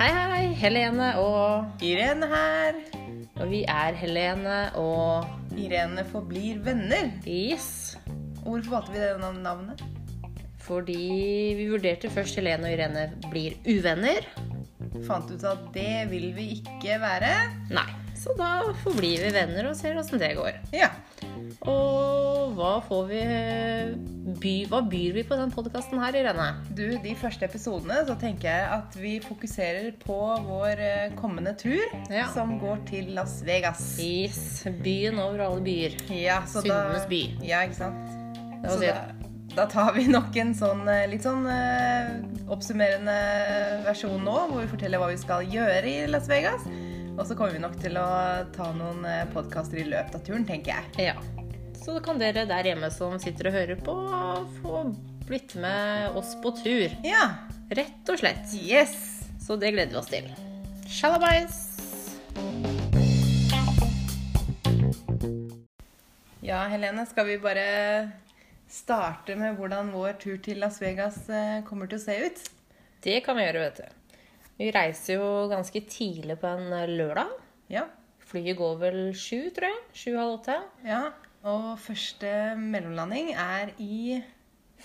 Hei, hei. Helene og Irene her. Og vi er Helene og Irene forblir venner. Yes. Hvorfor valgte vi det nav- navnet? Fordi vi vurderte først Helene og Irene blir uvenner. Fant ut at det vil vi ikke være. Nei. Så da forblir vi venner og ser åssen det går. Ja. Og hva får vi by, Hva byr vi på den podkasten her, Irene? Du, de første episodene så tenker jeg at vi fokuserer på vår eh, kommende tur Ja. som går til Las Vegas. Yes. Byen over alle byer. Ja, så Syndenes da by. Ja, ikke sant? Det var Så det. da, da tar vi nok en sånn eh, litt sånn eh, oppsummerende versjon nå, hvor vi forteller hva vi skal gjøre i Las Vegas. Og så kommer vi nok til å ta noen eh, podkaster i løpet av turen, tenker jeg. Ja. Så kan dere der hjemme som sitter og hører på, få blitt med oss på tur. Ja. Rett og slett. Yes! Så det gleder vi oss til. Shalabais! Ja, Helene, skal vi bare starte med hvordan vår tur til Las Vegas eh, kommer til å se ut? Det kan vi gjøre, vet du. Vi reiser jo ganske tidlig på en eh, lørdag. Ja. Flyet går vel sju, tror jeg. Sju-halv åtte. ja. Og første mellomlanding er i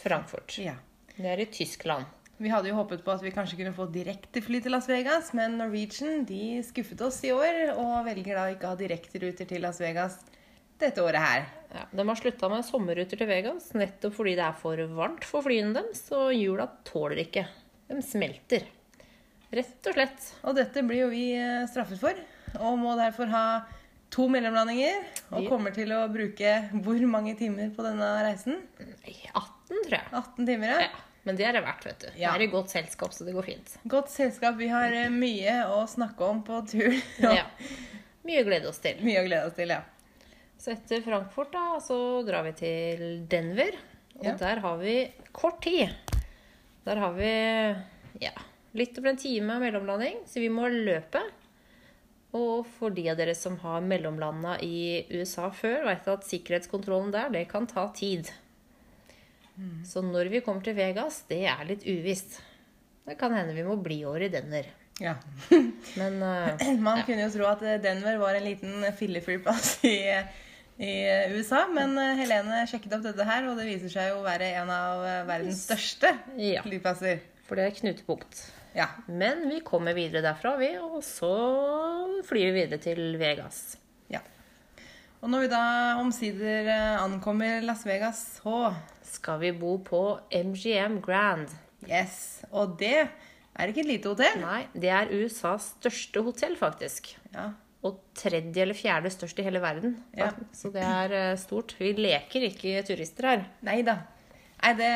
Frankfurt. Ja. Det er i Tyskland. Vi hadde jo håpet på at vi kanskje kunne få direktefly til Las Vegas, men Norwegian de skuffet oss i år og velger da ikke å ha direkteruter til Las Vegas dette året her. Ja, de har slutta med sommerruter til Vegas nettopp fordi det er for varmt for flyene deres, og hjula tåler ikke. De smelter. Rett og slett. Og dette blir jo vi eh, straffet for, og må derfor ha to mellomlandinger. Og Ja. kommer til å bruke hvor mange timer på denne reisen? Nei, 18, tror jeg. 18 timer, ja. Ja, men det er det verdt, vet du. Ja. Det er i godt selskap, så det går fint. Godt selskap. Vi har eh, mye å snakke om på tur. Ja. Mye å glede oss til. Mye å glede oss til, ja. Så etter Frankfurt da, så drar vi til Denver, og Ja. der har vi kort tid. Der har vi ja, litt over en time mellomlanding, så vi må løpe. Og for de av dere som har mellomlanda i USA før, vet at sikkerhetskontrollen der, det kan ta tid. Så når vi kommer til Vegas, det er litt uvisst. Det kan hende vi må bli over i Denver. ja. Men eh, Man kunne jo tro at eh, Denver var en liten filleflyplass i, i USA, men eh, Helene sjekket opp dette her, og det viser seg jo å være en av eh, verdens største Ja. flyplasser. for det er knutepunkt. Ja. Men vi kommer videre derfra, vi, og så flyr vi videre til Vegas. ja. Og når vi da omsider eh, ankommer Las Vegas, så Skal vi bo på MGM Grand? Yes! Og det er ikke et lite hotell. Nei, det er USAs største hotell, faktisk. Ja. Og tredje eller fjerde størst i hele verden. Ja. Så det er eh, stort. Vi leker ikke turister her. Nei da. Nei, det,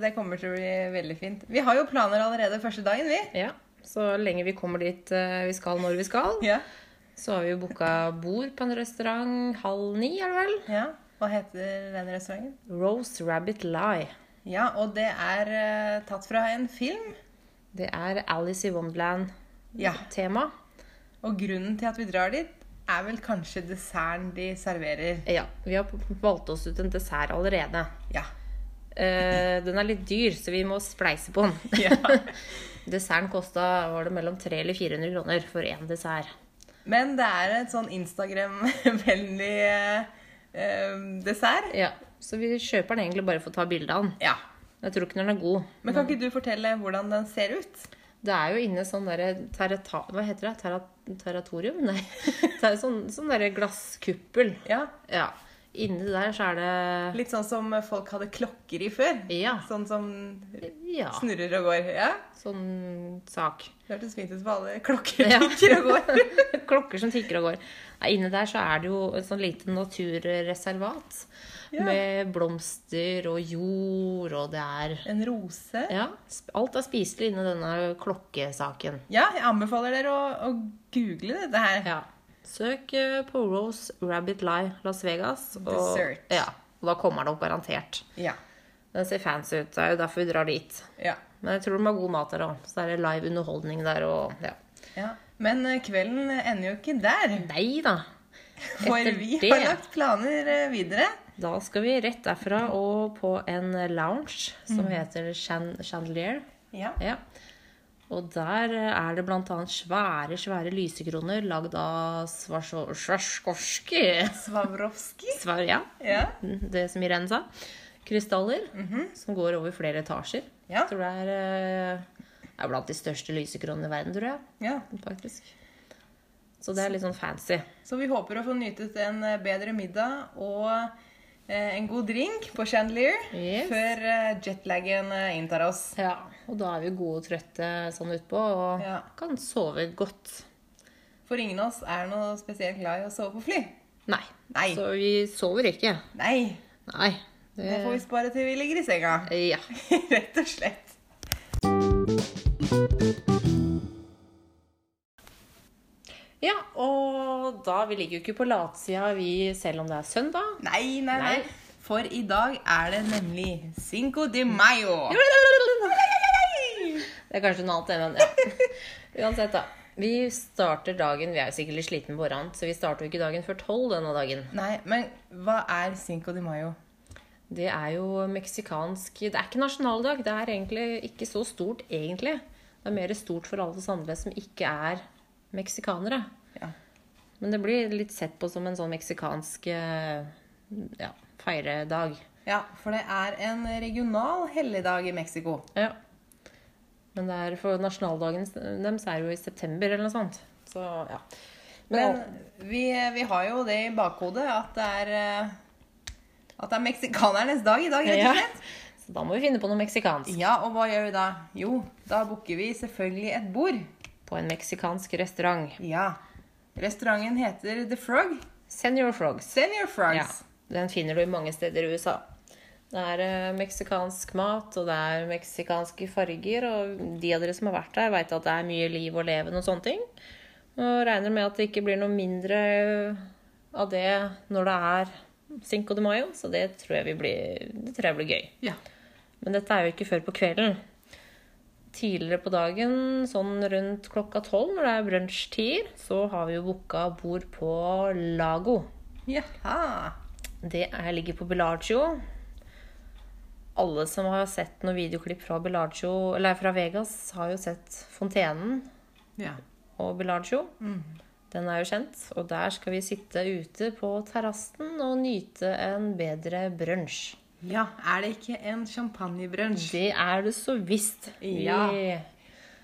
det kommer til å bli veldig fint. Vi har jo planer allerede første dagen, vi. Ja, Så lenge vi kommer dit eh, vi skal når vi skal. Ja. Så har vi jo booka bord på en restaurant halv ni, er det vel? ja. Hva heter den restauranten? Rose Rabbit Lie. Ja, og det er eh, tatt fra en film. Det er Alice i Wonderland-tema. Ja, Og grunnen til at vi drar dit, er vel kanskje desserten de serverer. Ja, vi har valgt oss ut en dessert allerede. Ja. Eh, den er litt dyr, så vi må spleise på den. Ja. Desserten kosta var det mellom 300 eller 400 kroner for én dessert. Men det er et sånn Instagram-vennlig eh, eh, dessert. Ja, Så vi kjøper den egentlig bare for å ta bilde av den. Ja. Jeg tror ikke den er god. Men kan ikke du fortelle hvordan den ser ut? Det er jo inne sånn derre terrata... Hva heter det? Terra, terratorium? Nei. Det er sånn, sånn derre glasskuppel. Ja. Ja. Inni der så er det Litt sånn som folk hadde klokker i før. Ja. Sånn som Ja. snurrer og går. Ja. Sånn sak. Det hørtes fint ut på alle klokker Ja. tikker og går. Klokker som tikker og går. Nei, inne der så er det jo et sånn lite naturreservat. Ja. Med blomster og jord, og det er En rose. Ja, sp- alt er spiselig inni denne klokkesaken. Ja, jeg anbefaler dere å, å google dette her. Ja. Søk eh, på Rose Rabbit Lie Las Vegas. Og, Dessert. Ja, og da kommer det opp garantert. Ja. Den ser fancy ut. Det er jo derfor vi drar dit. Ja. Men jeg tror de har god mat der òg. Så er det live underholdning der og ja. ja. Men eh, kvelden ender jo ikke der. Nei da. For Etter vi det- har lagt planer eh, videre. Da skal vi rett derfra og på en lounge som Mm. heter Chan- Chandelier. Ja. Ja. Og der er det bl.a. svære, svære lysekroner lagd av Svarsjo- Svarskorski Svavrovskij. Svar, ja. Ja. Det som Irene sa. Krystaller som går over flere etasjer. Mhm. Ja. Jeg tror det er, eh, er blant de største lysekronene i verden, tror jeg. ja. faktisk. Så det er litt sånn fancy. Så vi håper å få nytet en eh, bedre middag og eh, en god drink på Chandelier Yes. før eh, jetlaggen eh, inntar oss. Ja, Og da er vi gode og trøtte sånn utpå og Ja. kan sove godt. For ingen av oss er noe spesielt glad i å sove på fly. Nei. Nei. Så vi sover ikke. Nei, Nei. Det, det får vi spare til vi ligger i senga. Ja. Rett og slett. ja. Og da Vi ligger jo ikke på latsida, vi, selv om det er søndag. Nei, nei, nei. Nei. For i dag er det nemlig Cinco de Mayo. Det er kanskje noe annet, men ja. Uansett, da. Vi starter dagen Vi er jo sikkert litt slitne på morgenen, så vi starter jo ikke dagen før tolv denne dagen. Nei, men hva er Cinco de Mayo? Det er jo meksikansk Det er ikke nasjonaldag. Det er egentlig ikke så stort, egentlig. Det er mer stort for alle oss andre som ikke er meksikanere. Ja. Men det blir litt sett på som en sånn meksikansk eh, ja, feiredag. ja, for det er en regional helligdag i Mexico. Ja. Men det er for nasjonaldagen deres er jo i september eller noe sånt. Så ja. Men, Men vi, vi har jo det i bakhodet at det er eh, at det er meksikanernes dag i dag, rett ja. og slett. Så da må vi finne på noe meksikansk. Ja, og hva gjør vi da? Jo, da booker vi selvfølgelig et bord. På en meksikansk restaurant. Ja. Restauranten heter The Frog. Senior Frogs. Senior Frogs. Ja, den finner du i mange steder i USA. Det er eh, meksikansk mat, og det er meksikanske farger, og de av dere som har vært der, veit at det er mye liv og leven og sånne ting. Og regner med at det ikke blir noe mindre av det når det er Cinco de Mayo, så det tror jeg, vi blir, det tror jeg blir gøy. Ja. Men dette er jo ikke før på kvelden. Tidligere på dagen, sånn rundt klokka tolv, når det er brunsjtider, så har vi jo booka bord på Lago. Jaha. Det er, ligger på Bellagio. Alle som har sett noen videoklipp fra Bellagio, eller fra Vegas, har jo sett fontenen Ja. og Bellagio. Den er jo kjent. Og der skal vi sitte ute på terrassen og nyte en bedre brunsj. Ja, er det ikke en champagnebrunsj? Det er det så visst. Ja. Vi-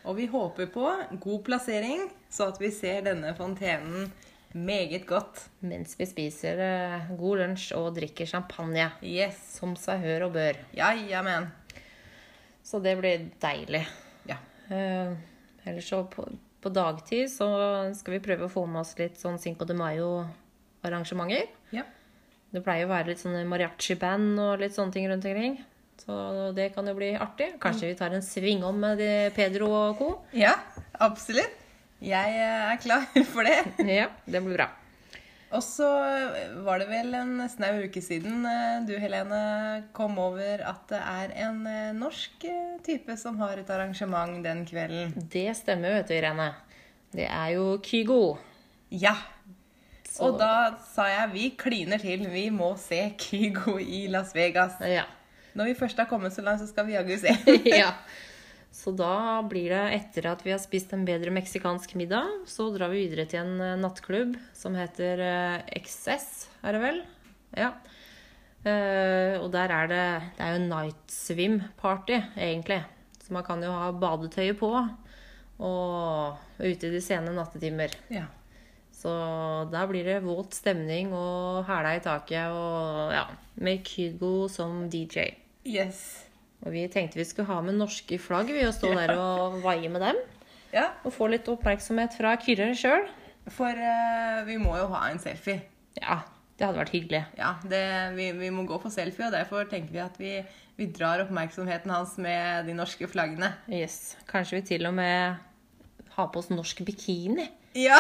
Og vi håper på god plassering, så at vi ser denne fontenen meget godt. Mens vi spiser eh, god lunsj og drikker champagne. Yes. Som seg hør og bør. Ja, ja, men. Så det blir deilig. Ja. Eh, ellers så på, på dagtid så skal vi prøve å få med oss litt sånn Cinco de Mayo-arrangementer. Ja. Det pleier å være litt sånne mariachi-band og litt sånne ting rundt omkring. Så det kan jo bli artig. Kanskje vi tar en sving om med de Pedro og co. ja, absolutt. Jeg eh, er klar for det. Ja, det blir bra. Og så var det vel en snau uke siden eh, du, Helene, kom over at det er en eh, norsk eh, type som har et arrangement den kvelden. Det stemmer, vet du, Irene. Det er jo Kygo. Ja. Så- Og da sa jeg vi kliner til. Vi må se Kygo i Las Vegas. Ja. Når vi først har kommet så langt, så skal vi jaggu se. ja. Så da blir det etter at vi har spist en bedre meksikansk middag, så drar vi videre til en eh, nattklubb som heter eh, XS, er det vel? Ja. Eh, og der er det Det er jo night swim party, egentlig. Så man kan jo ha badetøyet på og ute i de sene nattetimer. Ja. Så der blir det våt stemning og hæla i taket og ja, med Kygo som DJ. Yes. Og vi tenkte vi skulle ha med norske flagg ved å stå der og vaie med dem. Ja, Og få litt oppmerksomhet fra Kyrre sjøl. for eh, vi må jo ha en selfie. Ja, det hadde vært hyggelig. Ja, det, vi, vi må gå for selfie, og derfor tenker vi at vi, vi drar oppmerksomheten hans med de norske flaggene. Yes. Kanskje vi til og med har på oss norsk bikini. Ja!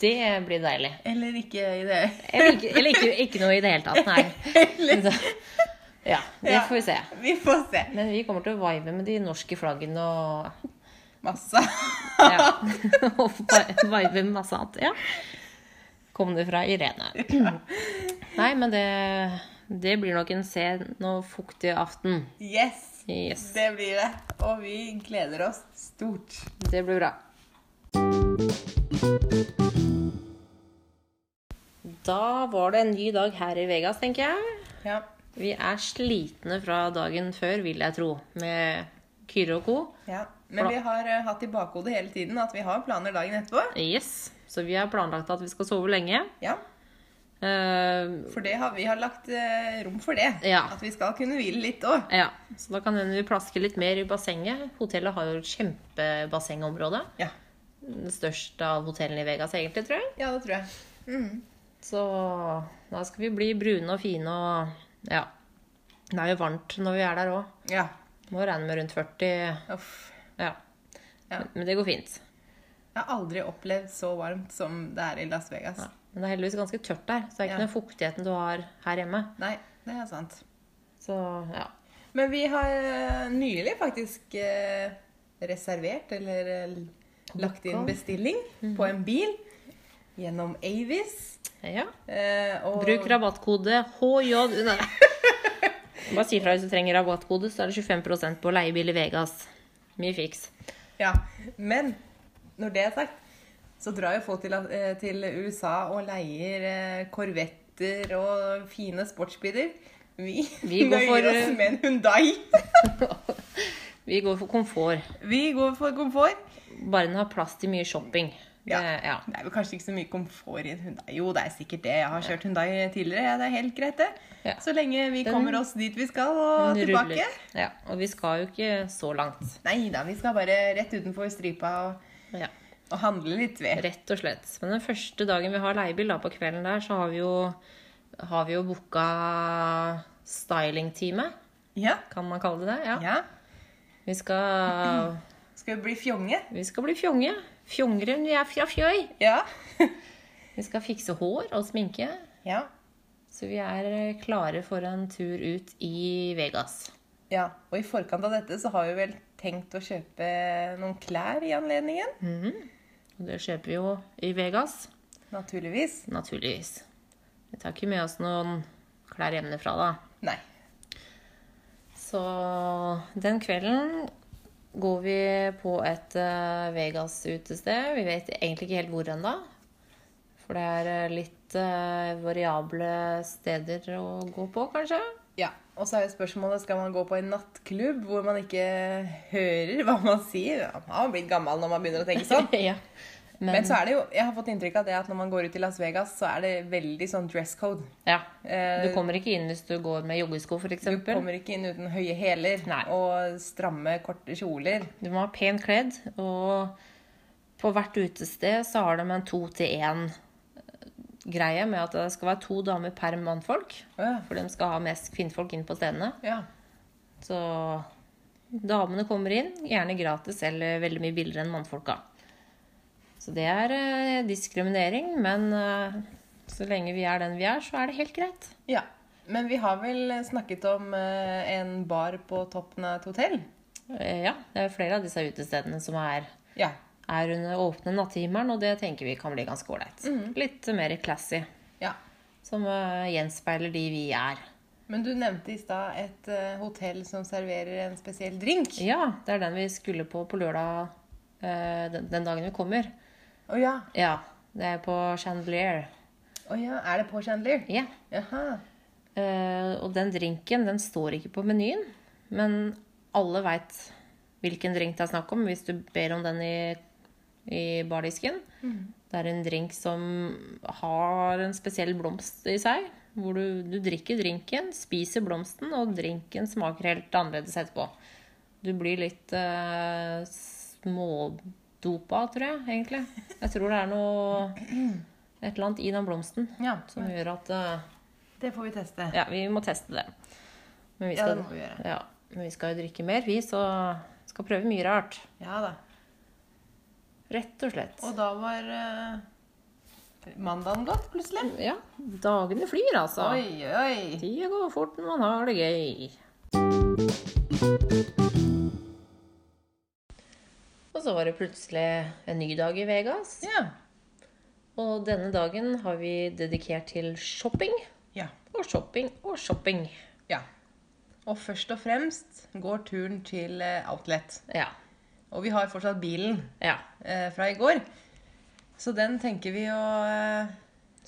Det blir deilig. Eller ikke i det. Eller ikke, eller ikke, ikke noe i det hele tatt, nei. Eller- Så, ja, det Ja. får vi se. Vi får se. Men vi kommer til å vibe med de norske flaggene og Masse. ja, Og vi- vibe med masse annet. Ja. Kom det fra Irene. Nei, men det Det blir nok en sen og fuktig aften. Yes! Yes. Det blir det. Og vi gleder oss stort. Det blir bra. Da var det en ny dag her i Vegas, tenker jeg. Ja. Vi er slitne fra dagen før, vil jeg tro, med Kyrre og co. ja. Men vi har eh, hatt i bakhodet hele tiden at vi har planer dagen etterpå. Yes. Så vi har planlagt at vi skal sove lenge. Ja, Eh, For det har, vi har lagt eh, rom for det. Ja. At vi skal kunne hvile litt òg. ja, Så da kan hende vi plasker litt mer i bassenget. Hotellet har jo et kjempebassengområde. Ja. Det største av hotellene i Vegas, egentlig, tror jeg. ja, det tror jeg. Så da skal vi bli brune og fine og Ja. Det er jo varmt når vi er der òg. Ja. Må regne med rundt 40. Uff. Ja. Ja. Men det går fint. Jeg har aldri opplevd så varmt som det er i Las Vegas. Men det er heldigvis ganske tørt der, så det er ikke Ja. den fuktigheten du har her hjemme. Nei, det er sant. Så ja. Men vi har eh, nylig faktisk eh, reservert, eller eh, lagt inn bestilling på en bil gjennom Avis. ja. eh, og- Bruk rabattkode HJ Nei. Bare si fra hvis du trenger rabattkode, så er det 25 på leiebil i Vegas. Mye fiks. Ja, men når det er sagt, så drar jo folk til, eh, til USA og leier eh, korvetter og fine sportsbiler. Vi, Vi går nøyer for, eh, oss med en Hundai. Vi går for komfort. Vi går for komfort. Bare den har plass til mye shopping. Ja. Det, Eh, ja. Det er vel kanskje ikke så mye komfort i en Hundai. Jo, det er sikkert det. Jeg har kjørt Hundai tidligere. Ja, det er helt greit, det. Ja. Så lenge vi Den- kommer oss dit vi skal og Den tilbake. ruller. Ja. Og vi skal jo ikke så langt. Nei da, vi skal bare rett utenfor stripa og, Ja. og handle litt ved. Rett og slett. Men den første dagen vi har leiebil, da, på kvelden der, så har vi jo, har vi jo booka stylingtime. Ja. Kan man kalle det det? Ja. ja. Vi, skal, Skal vi bli fjonge? vi skal bli fjonge. Fjongere enn vi er fra fjøy. Ja. Vi skal fikse hår og sminke. ja. Så vi er eh, klare for en tur ut i Vegas. Ja. Og i forkant av dette så har vi vel tenkt å kjøpe noen klær i anledningen. Og det kjøper vi jo i Vegas, Naturligvis. naturligvis. Vi tar ikke med oss noen klær hjemmefra, da. Nei. Så den kvelden går vi på et eh, Vegas-utested. Vi vet egentlig ikke helt hvor ennå. For det er eh, litt eh, variable steder å gå på, kanskje. Ja. Og så er jo spørsmålet skal man gå på en nattklubb hvor man ikke hører hva man sier. Man har blitt gammel når man begynner å tenke sånn. ja. Men, Men så er det jo, jeg har fått inntrykk av det at når man går ut i Las Vegas, så er det veldig sånn dress code. ja. Eh, Du kommer ikke inn hvis du går med joggesko, f.eks. Du kommer ikke inn uten høye hæler Nei. og stramme, korte kjoler. Du må ha pent kledd, og på hvert utested så har de en to-til-én-greie med at det skal være to damer per mannfolk. Å For de skal ha mest kvinnfolk inn på stedene. Ja. Så damene kommer inn, gjerne gratis eller veldig mye billigere enn mannfolka. Så det er eh, diskriminering, men eh, så lenge vi er den vi er, så er det helt greit. ja. Men vi har vel snakket om eh, en bar på toppen av et hotell? Eh, Ja, det er flere av disse utestedene som er, Ja. er under åpne nattehimmelen, og det tenker vi kan bli ganske ålreit. Litt mer classy, ja. som eh, gjenspeiler de vi er. Men du nevnte i stad et eh, hotell som serverer en spesiell drink. Ja, det er den vi skulle på på lørdag eh, den, den dagen vi kommer. Å ja. Ja, det er på Chandelier. Å ja. Er det på Chandelier? Ja. Jaha. Eh, og den drinken den står ikke på menyen, men alle veit hvilken drink det er snakk om hvis du ber om den i, i bardisken. Det er en drink som har en spesiell blomst i seg. Hvor du, du drikker drinken, spiser blomsten, og drinken smaker helt annerledes etterpå. Du blir litt eh, smådopa, tror jeg, egentlig. Jeg tror det er noe Et eller annet i den blomsten Ja. som gjør at eh, Det får vi teste. ja, vi må teste det. Men vi Ja, skal, det må vi gjøre. ja, men vi skal jo drikke mer, vi, så skal prøve mye rart. Ja da. Rett og slett. Og da var eh, mandagen gått, plutselig. Ja, dagene flyr, altså. Oi, oi. Tida går fort når man har det gøy. Og så var det plutselig en ny dag i Vegas. Ja. Og denne dagen har vi dedikert til shopping. Ja. Og shopping og shopping. ja. Og først og fremst går turen til eh, Outlet. Ja. Og vi har fortsatt bilen ja. eh, fra i går. Så den tenker vi å eh,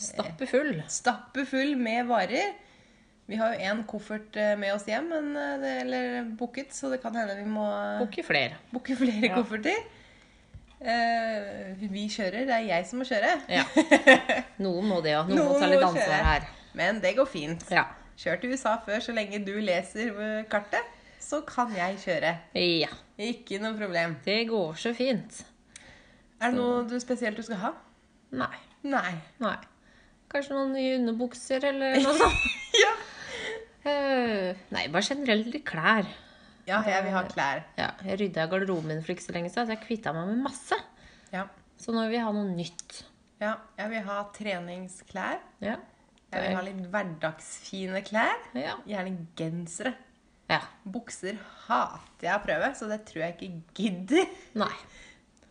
Stappe full. stappe full med varer. Vi har jo én koffert eh, med oss hjem, men, eh, det, eller booket, så det kan hende vi må eh, Bukke flere. booke flere Ja. kofferter. Eh, vi kjører. Det er jeg som må kjøre. Ja. Noen må det, ja. Noen, må Noen ta litt må ansvar kjøre. her. Men det går fint. Ja. Kjør til USA før, så lenge du leser eh, kartet, så kan jeg kjøre. ja. Ikke noe problem. Det går så fint. Er det noe du spesielt du skal ha? Nei. Nei. Nei. Kanskje noen nye underbukser eller noe sånt. Ja, Eh, Nei, bare generelt litt klær. ja jeg vil ha klær. Ja, jeg rydda i garderoben min for ikke så lenge siden, så jeg kvitta meg med masse. Ja. Så nå vil vi ha noe nytt. ja. Jeg vil ha treningsklær. Ja. Jeg vil ha litt hverdagsfine klær. Ja. Gjerne gensere. ja. Bukser hater jeg å prøve, så det tror jeg ikke gidder Nei.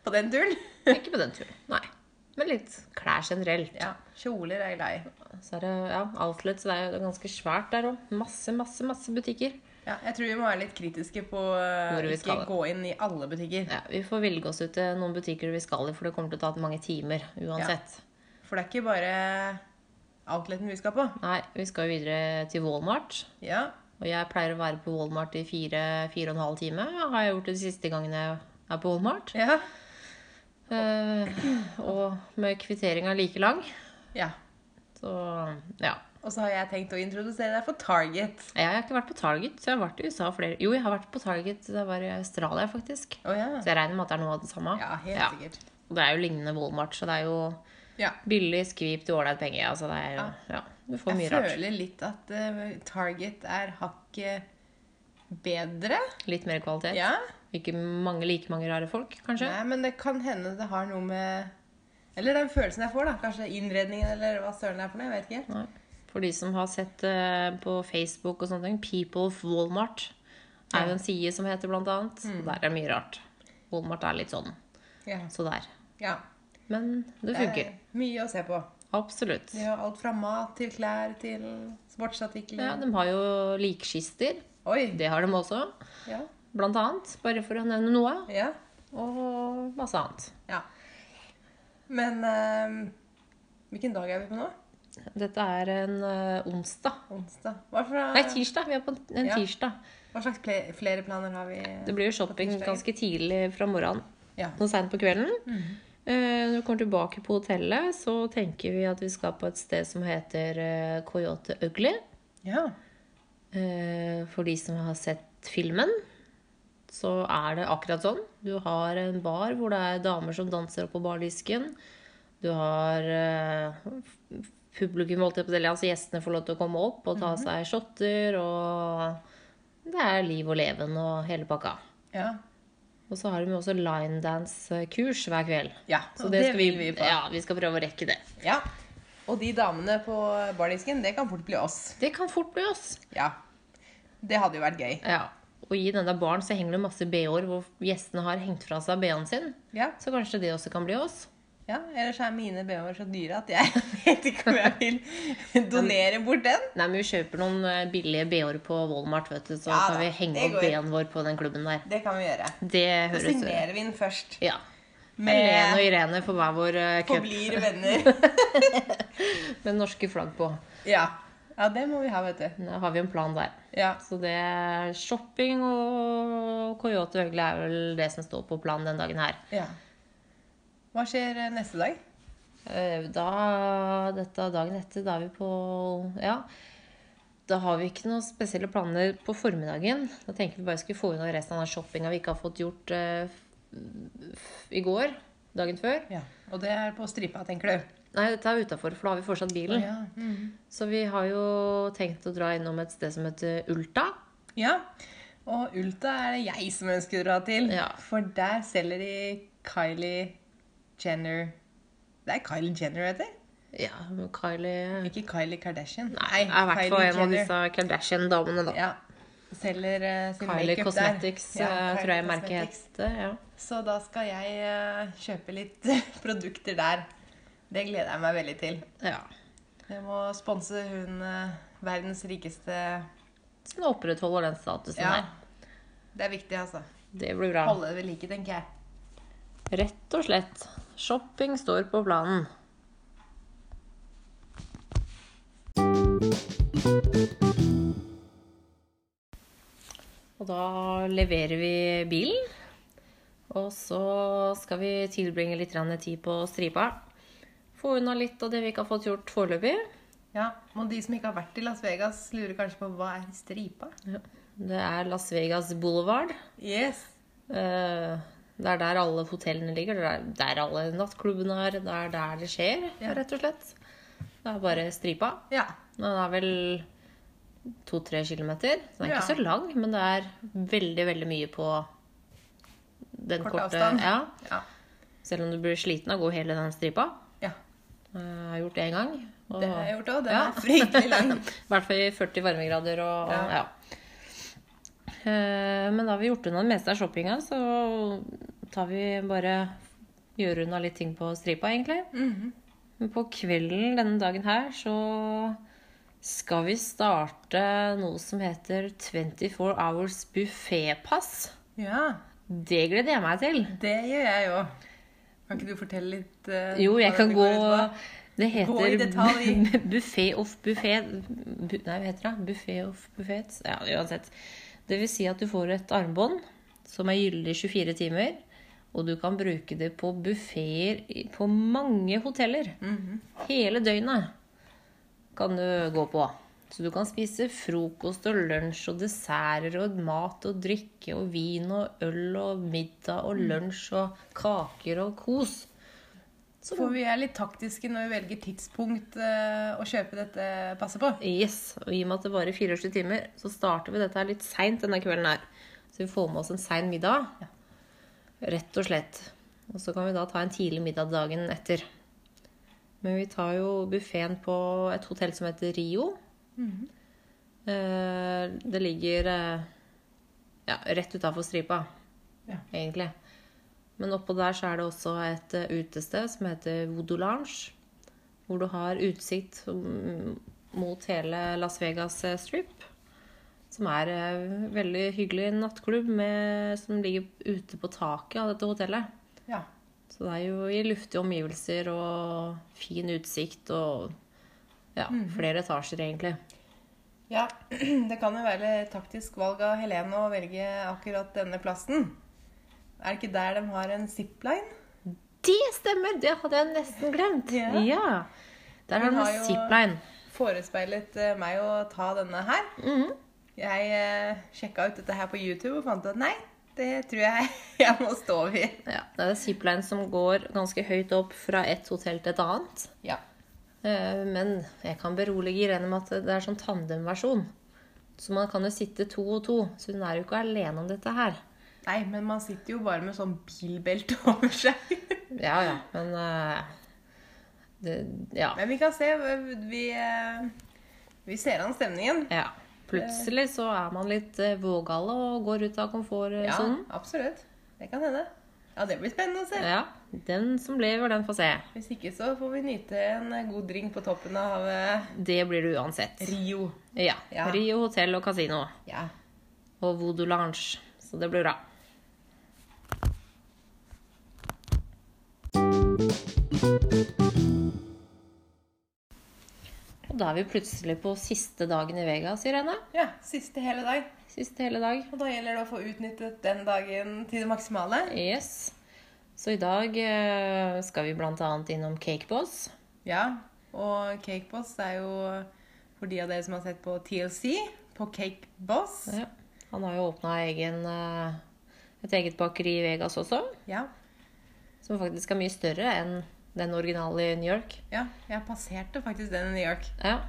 på den turen. Ikke på den turen. Nei. Men litt klær generelt. Ja, Kjoler er jeg glad i. Så er det ja, Outlet, så det er jo det er ganske svært der òg. Masse, masse, masse butikker. Ja, jeg tror vi må være litt kritiske på eh, Hvor vi ikke skal. gå inn i alle butikker. Ja, vi får velge oss ut til noen butikker vi skal i, for det kommer til å ta mange timer uansett. For det er ikke bare outleten vi skal på. Nei, vi skal jo videre til Walmart. Ja, Og jeg pleier å være på Walmart i fire, fire og en halv time. Har jeg gjort det de siste gangene jeg er på Walmart. ja, Eh, og med kvitteringa like lang. ja. Så ja. Og så har jeg tenkt å introdusere deg for Target. Jeg har ikke vært på Target, så jeg har vært i USA flere Jo, jeg har vært på Target da jeg var i Australia, faktisk. Å ja. Så jeg regner med at det er noe av det samme. Ja, helt Ja. sikkert. Og det er jo lignende Walmart, så det er jo Ja. billig skvip til ålreit penge. Altså det er jo Ja. Du får Jeg mye rart. føler litt at eh, Target er hakket bedre. Litt mer kvalitet. Ja. Ikke mange, like mange rare folk, kanskje. Nei, men det kan hende det har noe med Eller den følelsen jeg får, da. Kanskje innredningen eller hva søren det er for noe. Jeg vet ikke. Nei. For de som har sett eh, på Facebook og sånne ting, People of Walmart er jo en side som heter blant annet. Og der er det mye rart. Walmart er litt sånn. Ja. Så der. ja. Men det funker. er mye å se på. Absolutt. De har alt fra mat til klær til sportsartikler. Ja, de har jo likkister. Oi. Det har de også. Ja. Blant annet. Bare for å nevne noe. ja. Og masse annet. Ja. Men eh, hvilken dag er vi på nå? Dette er en eh, onsdag. Onsdag. Hva, for, Nei, tirsdag. Vi er på en Ja. tirsdag. hva slags ple- flere planer har vi? Det blir jo shopping tirsdagen. ganske tidlig fra morgenen. Ja. noe seint på kvelden. Eh, når vi kommer tilbake på hotellet, så tenker vi at vi skal på et sted som heter eh, Coyote Ugly. ja. Eh, for de som har sett filmen, så er det akkurat sånn. Du har en bar hvor det er damer som danser oppå bardisken. Du har eh, f- publikum, holdt jeg på å si, altså gjestene får lov til å komme opp og ta seg shotter, og det er liv og leven og hele pakka. Ja. Og så har de jo også linedance-kurs hver kveld. ja. Så og det, skal vi, vil vi på. Ja, vi skal prøve å rekke det. Ja. Og de damene på bardisken, det kan fort bli oss. Det kan fort bli oss. Ja. Det hadde jo vært gøy. Ja. Og i denne baren så henger det masse bh-er hvor gjestene har hengt fra seg bh-en sin. Ja. Så kanskje det også kan bli oss. ja. Ellers er mine bh-er så dyre at jeg vet ikke om jeg vil donere bort den. Nei, men vi kjøper noen eh, billige bh-er på Walmart, vet du, så Ja kan da, vi henge det opp går. bh-en vår på den klubben der. Det kan vi gjøre. Det Så høres ut. signerer vi den først. Ja. Helene og Med Irene får hver vår eh, cup forblir venner. med norske flagg på. Ja. ja, det må vi ha, vet du. Da har vi en plan der. Ja. Så det er shopping og Coyote Øgle er vel det som står på planen den dagen her. ja. Hva skjer eh, neste dag? Eh, Da, dette dagen etter, da er vi på Ja. Da har vi ikke noen spesielle planer på formiddagen. Da tenker vi bare skulle få unna resten av den shoppinga vi ikke har fått gjort eh, f- f- i går. Dagen før. Ja. Og det er på stripa, tenker du? Nei, dette er utafor, for da har vi fortsatt bilen. Ja. Mm. Så vi har jo tenkt å dra innom et sted som heter Ulta. ja. Og Ulta er det jeg som ønsker å dra til. Ja. For der selger de Kylie Jenner Det er Kylie Jenner, heter det? Ja, men Kylie Ikke Kylie Kardashian. Nei, jeg er i hvert fall en av disse Kardashian-damene, da. Ja. Selger eh, sin Kylie makeup der. Cosmetics, Ja, eh, Kylie tror jeg merket Cosmetics. het det. Ja. Så da skal jeg eh, kjøpe litt produkter der. Det gleder jeg meg veldig til. Ja. Jeg må sponse hun eh, verdens rikeste Så den opprettholder den statusen Ja. her. Det er viktig, altså. Det blir bra. Holde det ved like, tenker jeg. Rett og slett. Shopping står på planen. Og da leverer vi bilen. Og så skal vi tilbringe litt grann tid på stripa. Få unna litt av det vi ikke har fått gjort foreløpig. Ja, Og de som ikke har vært i Las Vegas, lurer kanskje på hva er stripa? Det er Las Vegas Boulevard. Yes. Eh, Det er der alle hotellene ligger, det er der alle nattklubbene er, det er der det skjer, Ja. rett og slett. Det er bare stripa. Ja. Den er vel to-tre kilometer. Den er Ja. ikke så lang, men det er veldig, veldig mye på den Kort korte avstand. Ja. Ja. Selv om du blir sliten av å gå hele den stripa. ja. Eh, Jeg har gjort det én gang. og- Det har jeg gjort òg. Den Ja. er fryktelig lang. i hvert fall i 40 varmegrader og Ja. ja. Eh, Men da har vi gjort unna det meste av shoppinga, så tar vi bare gjør unna litt ting på stripa, egentlig. Mhm. Men på kvelden denne dagen her så skal vi starte noe som heter 24 Hours Buffetpass. Ja. Det gleder jeg meg til. Det gjør jeg òg. Kan ikke du fortelle litt eh, Jo, jeg hva kan det gå går ut på? Det Gå i heter detalj. buffé of buffé bu, Nei, hva heter det? Buffé of buffet Ja, uansett. Det vil si at du får et armbånd som er gyldig 24 timer, og du kan bruke det på buffeer i- på mange hoteller. Mhm. Hele døgnet kan du gå på. Så du kan spise frokost og lunsj og desserter og mat og drikke og vin og øl og middag Mm. og lunsj og kaker og kos. Så får vi være litt taktiske når vi velger tidspunkt eh, å kjøpe dette passet på. Yes, og i og med at det bare er 24 timer, så starter vi dette her litt seint denne kvelden her. Så vi får med oss en sein middag. Rett og slett. Og så kan vi da ta en tidlig middag dagen etter. Men vi tar jo buffeen på et hotell som heter Rio. Eh, Det ligger eh, ja, rett utafor stripa, Ja. egentlig. Men oppå der så er det også et eh, utested som heter Voodoo Lounge. Hvor du har utsikt mm, mot hele Las Vegas eh, Strip. Som er en veldig hyggelig nattklubb med, som ligger ute på taket av dette hotellet. Ja. Så det er jo i luftige omgivelser og fin utsikt og ja, Mm. flere etasjer, egentlig. Ja, det kan jo være et taktisk valg av Helene å velge akkurat denne plassen. Er det ikke der de har en zipline? Det stemmer! Det hadde jeg nesten glemt. Ja. Ja. Der Vi har de har jo- zipline. Forespeilet eh, meg å ta denne her. Mhm. Jeg eh, sjekka ut dette her på YouTube og fant ut at nei, det tror jeg jeg må stå ved. Ja, det er zipline som går ganske høyt opp fra et hotell til et annet. Ja. Eh, Men jeg kan berolige Irene med at det er sånn tandemversjon. Så man kan jo sitte to og to. Så hun er jo ikke alene om dette her. Nei, men man sitter jo bare med sånn bilbelte over seg. Ja, ja, men eh, det, Ja. Men vi kan se. Vi, eh, vi ser an stemningen. ja. Plutselig så er man litt eh, vågale og går ut av Ja, komfortsonen. absolutt. Det kan hende. Ja, det blir spennende å se. Ja. Den som lever, den får se. Hvis ikke så får vi nyte en eh, god drink på toppen av eh, Det blir det uansett. Rio. Ja. Ja. Rio hotell og kasino. Ja. Og Voodoo Lounge. Så det blir bra. Og da er vi plutselig på siste dagen i Vegas, Irene. ja. Siste hele dag. Siste hele dag. Og da gjelder det å få utnyttet den dagen til det maksimale. Yes. Så i dag eh, skal vi blant annet innom Cake Boss. Ja. Og Cake Boss er jo for de av dere som har sett på TLC, på Cake Boss. Ja. Han har jo åpna et eget bakeri i Vegas også, Ja. som faktisk er mye større enn den originale i New York. ja. Jeg passerte faktisk den i New York. Ja.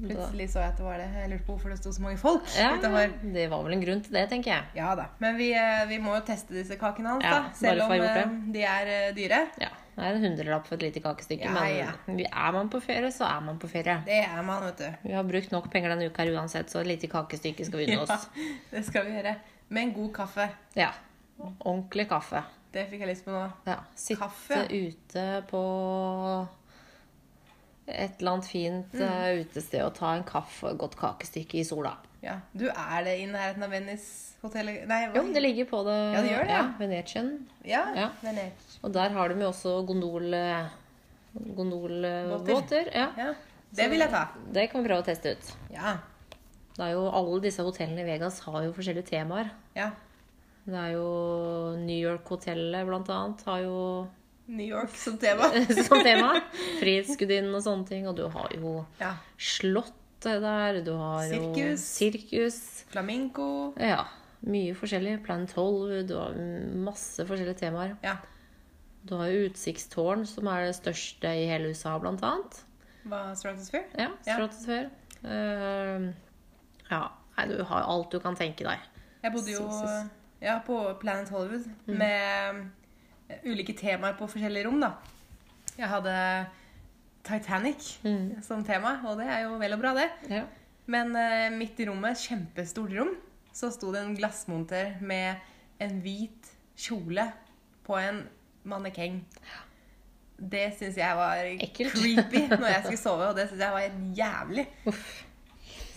Da- Plutselig så jeg at det var det. Jeg lurte på hvorfor det sto så mange folk Ja, utenfor. det var vel en grunn til det, tenker jeg. Ja da. Men vi, eh, vi må jo teste disse kakene hans, Ja, da. Selv bare om for å ha gjort eh, de er eh, dyre. Ja, Det er en hundrelapp for et lite kakestykke, Ja, men ja. vi- er man på ferie, så er man på ferie. Det er man, vet du. Vi har brukt nok penger denne uka her uansett, så et lite kakestykke skal vi unne Ja, oss. det skal vi gjøre. Med en god kaffe. Ja. Ordentlig kaffe. Det fikk jeg lyst på nå. Ja. Sitte Kaffe? ute på Et eller annet fint Mm. eh, utested og ta en kaffe og et godt kakestykke i sola. Ja. Du er det i nærheten av Venice hotellet Nei, hva? Jo, det ligger på det. Ja, det gjør det, ja. Ja, Venetian. Ja. Ja. Venice. Og der har de jo også gondol... eh, gondolbåter. Ja. Ja. Det vil jeg ta. Det kan vi prøve å teste ut. Ja. Det er jo, alle disse hotellene i Vegas har jo forskjellige temaer. ja. Det er jo New York-hotellet blant annet har jo New York som tema. som tema. Frihetsgudinnen og sånne ting. Og du har jo Ja. Slottet der. Du har jo Sirkus. sirkus. Flamingo. Ja. Mye forskjellig. Planet Hollywood. Du har masse forskjellige temaer. Ja. Du har jo utsiktstårn, som er det største i hele USA, blant annet. Hva Stratosphere? Ja, Ja. stratosfør. Eh, ja. Nei, du har alt du kan tenke deg. Jeg bodde jo Jesus. ja, på Planet Hollywood med eh, ulike temaer på forskjellige rom, da. Jeg hadde Titanic som tema, og det er jo vel og bra, det. Ja. Men eh, midt i rommet, et kjempestort rom, så sto det en glassmonter med en hvit kjole på en mannekeng. Det syns jeg var Ekkelt. creepy når jeg skulle sove, og det syns jeg var helt jævlig.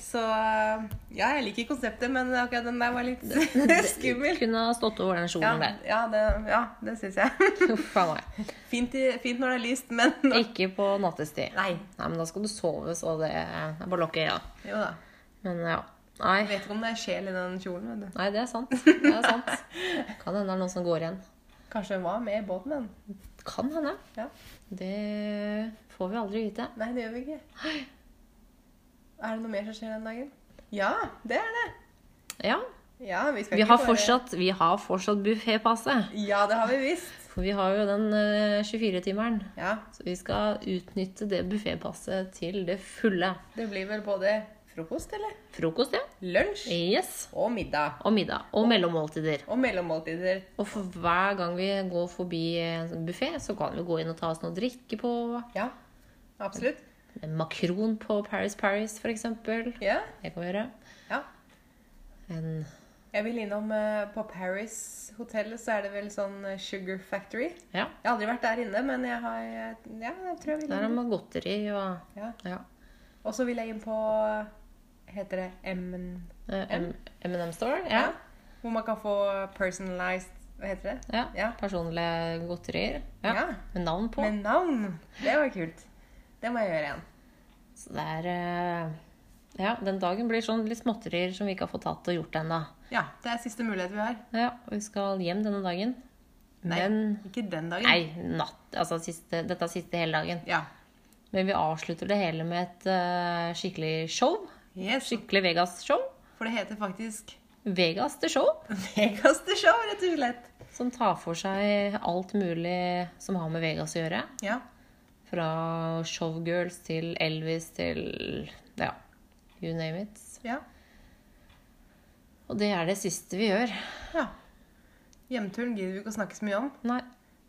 Så ja, jeg liker konseptet, men akkurat den der var litt skummel. Kunne ha stått over den Ja, kjolen der. ja, det, ja, det syns jeg. Uff a meg. Fint, i, fint når det er lyst, men nå- Ikke på nattestid. Nei. Nei, men da skal du sove, så det er bare å lukke øya. Jo da. Men ja. Jeg Nei. vet ikke om det er sjel i den kjolen. Vet du. Nei, det er sant. Det er sant. Kan hende det er noen som går igjen. Kanskje den var med i båten, den. Kan hende. Ja. Det får vi aldri vite. Nei, det gjør vi ikke. Er det noe mer som skjer den dagen? Ja, det er det. Ja. Ja, vi skal Vi ikke har bare- fortsatt, vi har fortsatt buffépasset. Ja, det har vi visst. For vi har jo den eh, 24-timeren. Ja, Så vi skal utnytte det buffépasset til det fulle. Det blir vel både frokost, eller? Frokost, ja. Lunsj Yes. og middag. Og middag. Og mellommåltider. Og mellommåltider. Og for hver gang vi går forbi en sånn buffé, så kan vi gå inn og ta oss noe å drikke på. Ja, absolutt. En makron på Paris Paris, for eksempel. Ja, Det kan vi gjøre. ja. En Jeg vil innom eh, på Paris hotellet, så er det vel sånn eh, Sugar Factory. Ja. Jeg har aldri vært der inne, men jeg har eh, Ja, jeg tror jeg vil Der har innom. man godteri og Ja. ja. Og så vil jeg inn på Heter det M... eh, M- M&M Store. Ja. Ja. Hvor man kan få personalized Hva heter det? ja. Ja. Personlige godterier. Ja. Ja. Med navn på. Med navn! Det var kult. Det må jeg gjøre igjen. Så det er eh, Ja, den dagen blir sånn litt småtterier som vi ikke har fått tatt og gjort ennå. Ja, det er siste mulighet vi har. Ja, og vi skal hjem denne dagen. Nei, Men ikke den dagen. Nei, natt. Altså siste, dette er siste hele dagen. Ja. Men vi avslutter det hele med et eh, skikkelig show. Yes. Skikkelig Vegas-show. For det heter faktisk Vegas the show. Vegas the Show, rett og slett. Som tar for seg alt mulig som har med Vegas å gjøre. Ja. Fra showgirls til Elvis til ja, you name it. Ja. Og det er det siste vi gjør. ja. Hjemturen gidder vi ikke å snakke så mye om. Nei.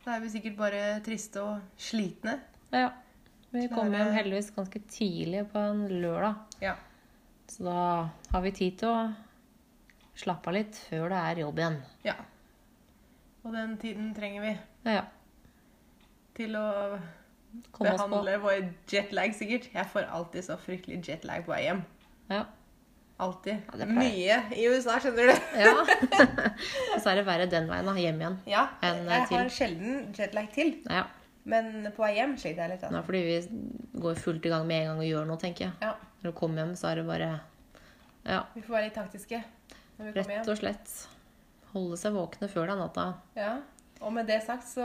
Da er vi sikkert bare triste og slitne. Ja. Vi kom Klare- hjem heldigvis ganske tidlig på en lørdag. Ja. Så da har vi tid til å slappe av litt før det er jobb igjen. ja. Og den tiden trenger vi Ja, ja. til å Komme oss på. behandle vår jetlag, sikkert. Jeg får alltid så fryktelig jetlag på vei hjem. Ja. Alltid. Ja, det Mye i USA, skjønner du. ja. Og så er det verre den veien, da. Hjem igjen. Ja, En, eh, jeg til. har sjelden jetlag til. Ja. Men på vei hjem sliter jeg litt. Det Altså. er fordi vi går fullt i gang med en gang og gjør noe, tenker jeg. Ja, Når du kommer hjem, så er det bare Ja. vi får være litt taktiske når vi kommer Rett hjem. og slett holde seg våkne før det er natta. Ja. Og med det sagt så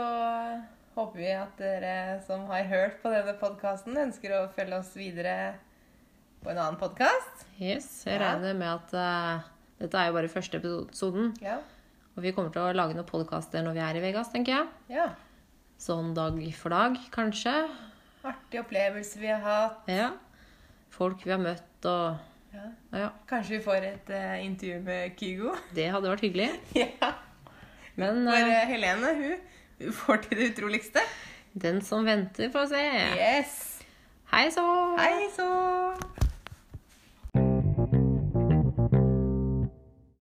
eh, håper vi at dere som har hørt på denne podkasten, ønsker å følge oss videre på en annen podkast. Yes, jeg Ja. regner med at eh, dette er jo bare første episoden, Ja. og vi kommer til å lage noen podkaster når vi er i Vegas, tenker jeg. ja. Sånn dag for dag, kanskje. Artige opplevelser vi har hatt. Ja. Folk vi har møtt og Ja. Ja, Kanskje vi får et eh, intervju med Kygo. det hadde vært hyggelig. ja. Men For eh, eh, Helene, hun, hun får til det utroligste. den som venter, får se. Yes! Hei så! Hei så!